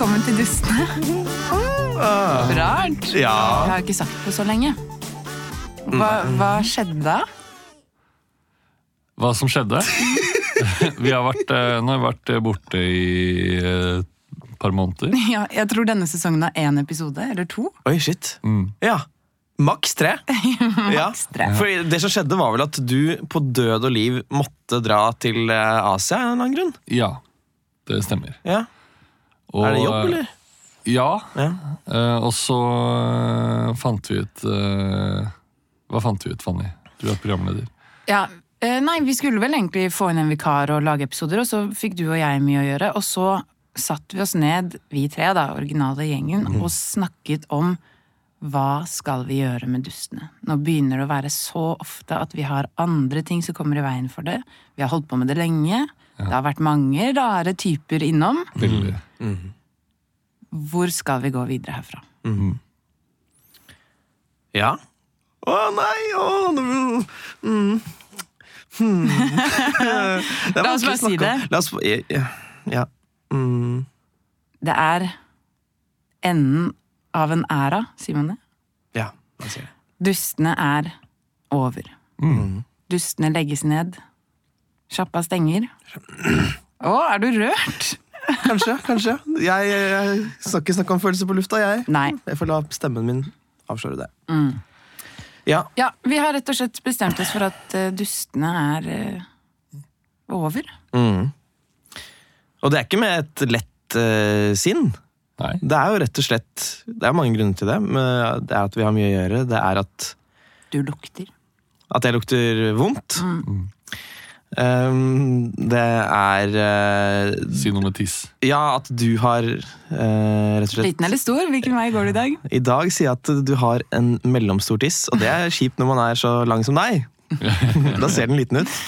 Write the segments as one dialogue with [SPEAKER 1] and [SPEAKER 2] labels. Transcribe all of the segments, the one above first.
[SPEAKER 1] bussene.
[SPEAKER 2] Ah,
[SPEAKER 1] Rart. Jeg
[SPEAKER 2] ja.
[SPEAKER 1] har ikke sagt det på så lenge. Hva, hva skjedde da?
[SPEAKER 3] Hva som skjedde? Vi har vært, eh, nå har jeg vært eh, borte i eh, et par måneder.
[SPEAKER 1] Ja, jeg tror denne sesongen har én episode, eller to.
[SPEAKER 2] Oi, shit.
[SPEAKER 3] Mm.
[SPEAKER 2] Ja. Maks tre. Maks
[SPEAKER 1] tre.
[SPEAKER 2] For det som skjedde, var vel at du på død og liv måtte dra til eh, Asia av en eller annen grunn?
[SPEAKER 3] Ja, det stemmer.
[SPEAKER 2] Ja.
[SPEAKER 3] Og, eh,
[SPEAKER 2] er det jobb, eller?
[SPEAKER 3] Ja.
[SPEAKER 2] Ja.
[SPEAKER 3] eh, Og så eh, fant vi ut eh, Hva fant vi ut, Fanny? Du er programleder.
[SPEAKER 1] Ja, eh, nei, vi skulle vel egentlig få inn en vikar og lage episoder, og så fikk du og jeg mye å gjøre. Og så satt vi oss ned, vi tre, da, originale gjengen, og snakket om hva skal vi gjøre med dustene? Nå begynner det å være så ofte at vi har andre ting som kommer i veien for det. Vi har holdt på med det lenge. Det har vært mange rare typer innom.
[SPEAKER 2] Mm.
[SPEAKER 3] Veldig.
[SPEAKER 1] Hvor skal vi gå videre herfra?
[SPEAKER 2] Ja. Å nei, å mm. Hmm. Det er
[SPEAKER 1] La oss bare
[SPEAKER 2] vanskelig å snakke
[SPEAKER 1] si det.
[SPEAKER 2] om. La oss, ja, ja, ja. Mm.
[SPEAKER 1] Det er enden av en æra, sier man det?
[SPEAKER 2] ja, la oss si det.
[SPEAKER 1] Dustene er over. Dustene legges ned. Sjappa stenger. Å, er du rørt?
[SPEAKER 2] Kanskje, kanskje. Jeg, jeg skal ikke snakke om følelser på lufta, jeg.
[SPEAKER 1] Nei.
[SPEAKER 2] Jeg får la stemmen min avsløre det.
[SPEAKER 1] Mm.
[SPEAKER 2] Ja.
[SPEAKER 1] Ja, vi har rett og slett bestemt oss for at eh, dustene er eh, over.
[SPEAKER 2] Mm. Og det er ikke med et lett eh, sinn.
[SPEAKER 3] Nei.
[SPEAKER 2] Det er jo rett og slett Det er mange grunner til det. Men eh, det er at vi har mye å gjøre. Det er at,
[SPEAKER 1] Du lukter.
[SPEAKER 2] at jeg lukter vondt. Um, det er eh,
[SPEAKER 3] Si noe med tiss.
[SPEAKER 2] Ja, at du har eh, rett og slett
[SPEAKER 1] Liten eller stor? Hvilken vei går det i dag?
[SPEAKER 2] I dag sier jeg at du har en mellomstor tiss, og det er kjipt når man er så lang som deg. da ser den liten ut.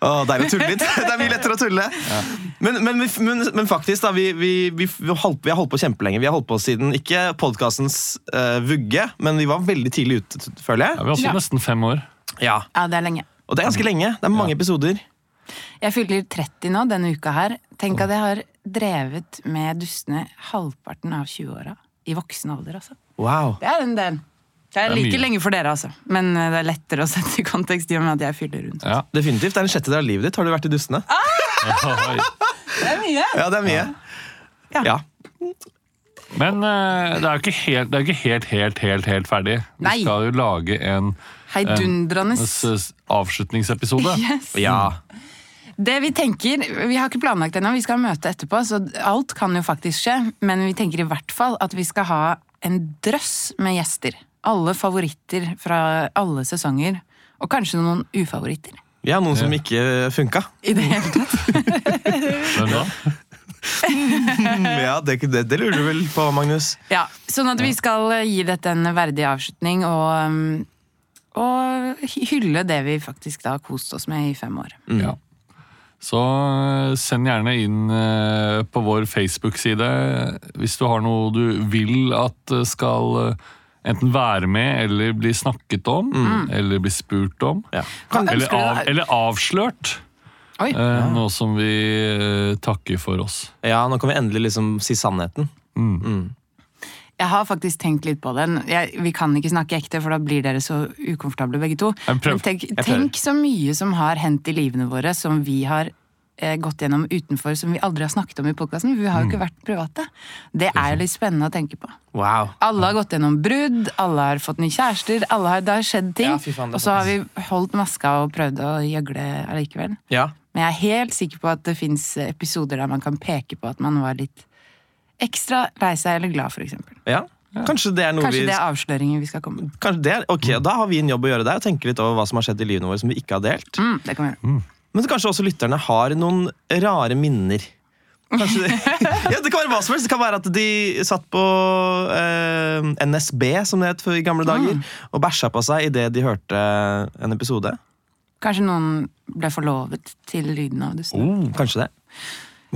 [SPEAKER 2] Å, det er jo tullete! Det er mye lettere å tulle. Men, men, vi- men, men faktisk, da, vi, vi, vi, vi, holdt, vi har holdt på kjempelenge. Vi har holdt på siden ikke podkastens eh, vugge, men vi var veldig tidlig ute, t- føler
[SPEAKER 3] Ja,
[SPEAKER 2] jeg.
[SPEAKER 3] vi har holdt på
[SPEAKER 1] Ja.
[SPEAKER 3] nesten fem år.
[SPEAKER 2] Ja, Mm.
[SPEAKER 1] Ja, det er lenge.
[SPEAKER 2] Og det er ganske lenge. Det er mange episoder.
[SPEAKER 1] Jeg fyller 30 nå denne uka her. Tenk at jeg har drevet med dustene halvparten av 20-åra. I voksen alder, altså.
[SPEAKER 2] Wow.
[SPEAKER 1] Det er en del. Det er
[SPEAKER 3] Det er
[SPEAKER 1] like
[SPEAKER 3] mye.
[SPEAKER 1] lenge for dere, altså. Men eh, det er lettere å sette i kontekst i og med at jeg fyller rundt.
[SPEAKER 3] Ja.
[SPEAKER 2] Definitivt. Det er en sjettedel av livet ditt. Har du vært i Dustene?
[SPEAKER 3] Oi.
[SPEAKER 1] Det er mye.
[SPEAKER 2] Ja, det er mye.
[SPEAKER 1] Ja.
[SPEAKER 2] ja.
[SPEAKER 3] Men eh, det er jo ikke helt, det er jo ikke helt, helt, helt, helt ferdig. Vi
[SPEAKER 1] Nei.
[SPEAKER 3] skal jo lage en
[SPEAKER 1] Heidundrende.
[SPEAKER 3] en s- s- avslutningsepisode.
[SPEAKER 1] Yes.
[SPEAKER 2] ja.
[SPEAKER 1] Det Vi tenker, vi har ikke planlagt det ennå, vi skal ha møte etterpå, så alt kan jo faktisk skje. Men vi tenker i hvert fall at vi skal ha en drøss med gjester. Alle favoritter fra alle sesonger. Og kanskje noen ufavoritter.
[SPEAKER 2] Vi har noen som ikke funka.
[SPEAKER 1] I det hele tatt.
[SPEAKER 3] Hvem da?
[SPEAKER 2] Ja, det, det, det lurer du vel på, Magnus?
[SPEAKER 1] Ja, Sånn at vi skal eh, gi dette en verdig avslutning og, um, og hy- hylle det vi faktisk da har kost oss med i fem år.
[SPEAKER 2] Mm.
[SPEAKER 3] Ja. Så eh, send gjerne inn eh, på vår Facebook-side hvis du har noe du vil at eh, skal eh, enten være med eller bli snakket om,
[SPEAKER 1] Mm.
[SPEAKER 3] eller bli spurt om.
[SPEAKER 2] Mm. Ja.
[SPEAKER 1] Hva ønsker
[SPEAKER 3] Eller,
[SPEAKER 1] du
[SPEAKER 3] av,
[SPEAKER 1] deg?
[SPEAKER 3] eller avslørt.
[SPEAKER 1] Oi.
[SPEAKER 3] Eh, Noe som vi eh, takker for oss.
[SPEAKER 2] Ja, nå kan vi endelig liksom si sannheten.
[SPEAKER 1] Jeg har faktisk tenkt litt på den. Jeg, vi kan ikke snakke ekte, for da blir dere så ukomfortable begge to.
[SPEAKER 3] Jeg prøver.
[SPEAKER 1] Men tenk,
[SPEAKER 2] prøver.
[SPEAKER 1] tenk så mye som har hendt i livene våre, som vi har eh, gått gjennom utenfor, som vi aldri har snakket om i podkasten. Vi har jo
[SPEAKER 2] Mm.
[SPEAKER 1] ikke vært private. Det er jo litt spennende å tenke på.
[SPEAKER 2] Wow.
[SPEAKER 1] Alle har gått gjennom brudd, alle har fått nye kjærester, alle har, det har skjedd ting.
[SPEAKER 2] Ja, fy faen, det er
[SPEAKER 1] og så har vi holdt maska og prøvd å gjøgle allikevel.
[SPEAKER 2] Ja.
[SPEAKER 1] Men jeg er helt sikker på at det fins episoder der man kan peke på at man var litt ekstra lei seg eller glad, for eksempel.
[SPEAKER 2] ja. Kanskje det er noe
[SPEAKER 1] Kanskje
[SPEAKER 2] vi
[SPEAKER 1] det er avsløringen vi skal komme med.
[SPEAKER 2] Kanskje det er, ok, Da har vi en jobb å gjøre der og tenke litt over hva som har skjedd i livene våre som vi ikke har delt.
[SPEAKER 1] Mm, det kan vi gjøre.
[SPEAKER 2] Men så kanskje også lytterne har noen rare minner. Kanskje det, ja, det kan være hva som helst. Det kan være at de satt på eh, NSB, som det het for i gamle
[SPEAKER 1] Ah.
[SPEAKER 2] dager, og bæsja på seg idet de hørte en episode.
[SPEAKER 1] Kanskje noen ble forlovet til lyden av dusten.
[SPEAKER 2] Kanskje det.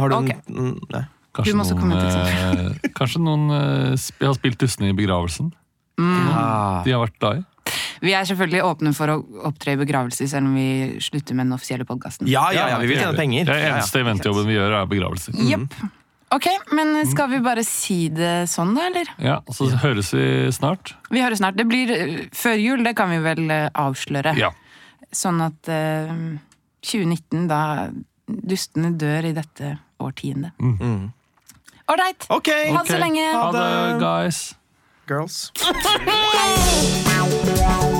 [SPEAKER 2] Har du
[SPEAKER 1] Ok.
[SPEAKER 2] en mm, Nei.
[SPEAKER 3] Kanskje
[SPEAKER 1] Du må også
[SPEAKER 3] noen,
[SPEAKER 1] komme med et
[SPEAKER 3] eh, kanskje noen eh, sp- har spilt Dustene i begravelsen.
[SPEAKER 1] Mm.
[SPEAKER 2] Ah.
[SPEAKER 3] De har vært glad i.
[SPEAKER 1] Vi er selvfølgelig åpne for å opptre i begravelser, selv om vi slutter med den offisielle podkasten.
[SPEAKER 2] Ja, ja, ja, vi vil tjene penger.
[SPEAKER 3] Det
[SPEAKER 2] Ja,
[SPEAKER 3] er
[SPEAKER 2] ja.
[SPEAKER 3] Mm. eneste eventjobben vi gjør, er begravelser.
[SPEAKER 1] Jepp. Ok, men skal vi bare si det sånn, da, eller?
[SPEAKER 3] Ja, Så høres vi snart.
[SPEAKER 1] Vi høres snart. Det blir eh, før jul, det kan vi vel eh, avsløre.
[SPEAKER 3] Ja.
[SPEAKER 1] Sånn at eh, 2019, da dustene dør i dette årtiendet. Ålreit!
[SPEAKER 2] Ok!
[SPEAKER 1] Ha det så lenge!
[SPEAKER 3] Ha det, guys.
[SPEAKER 2] Girls.
[SPEAKER 4] Wow.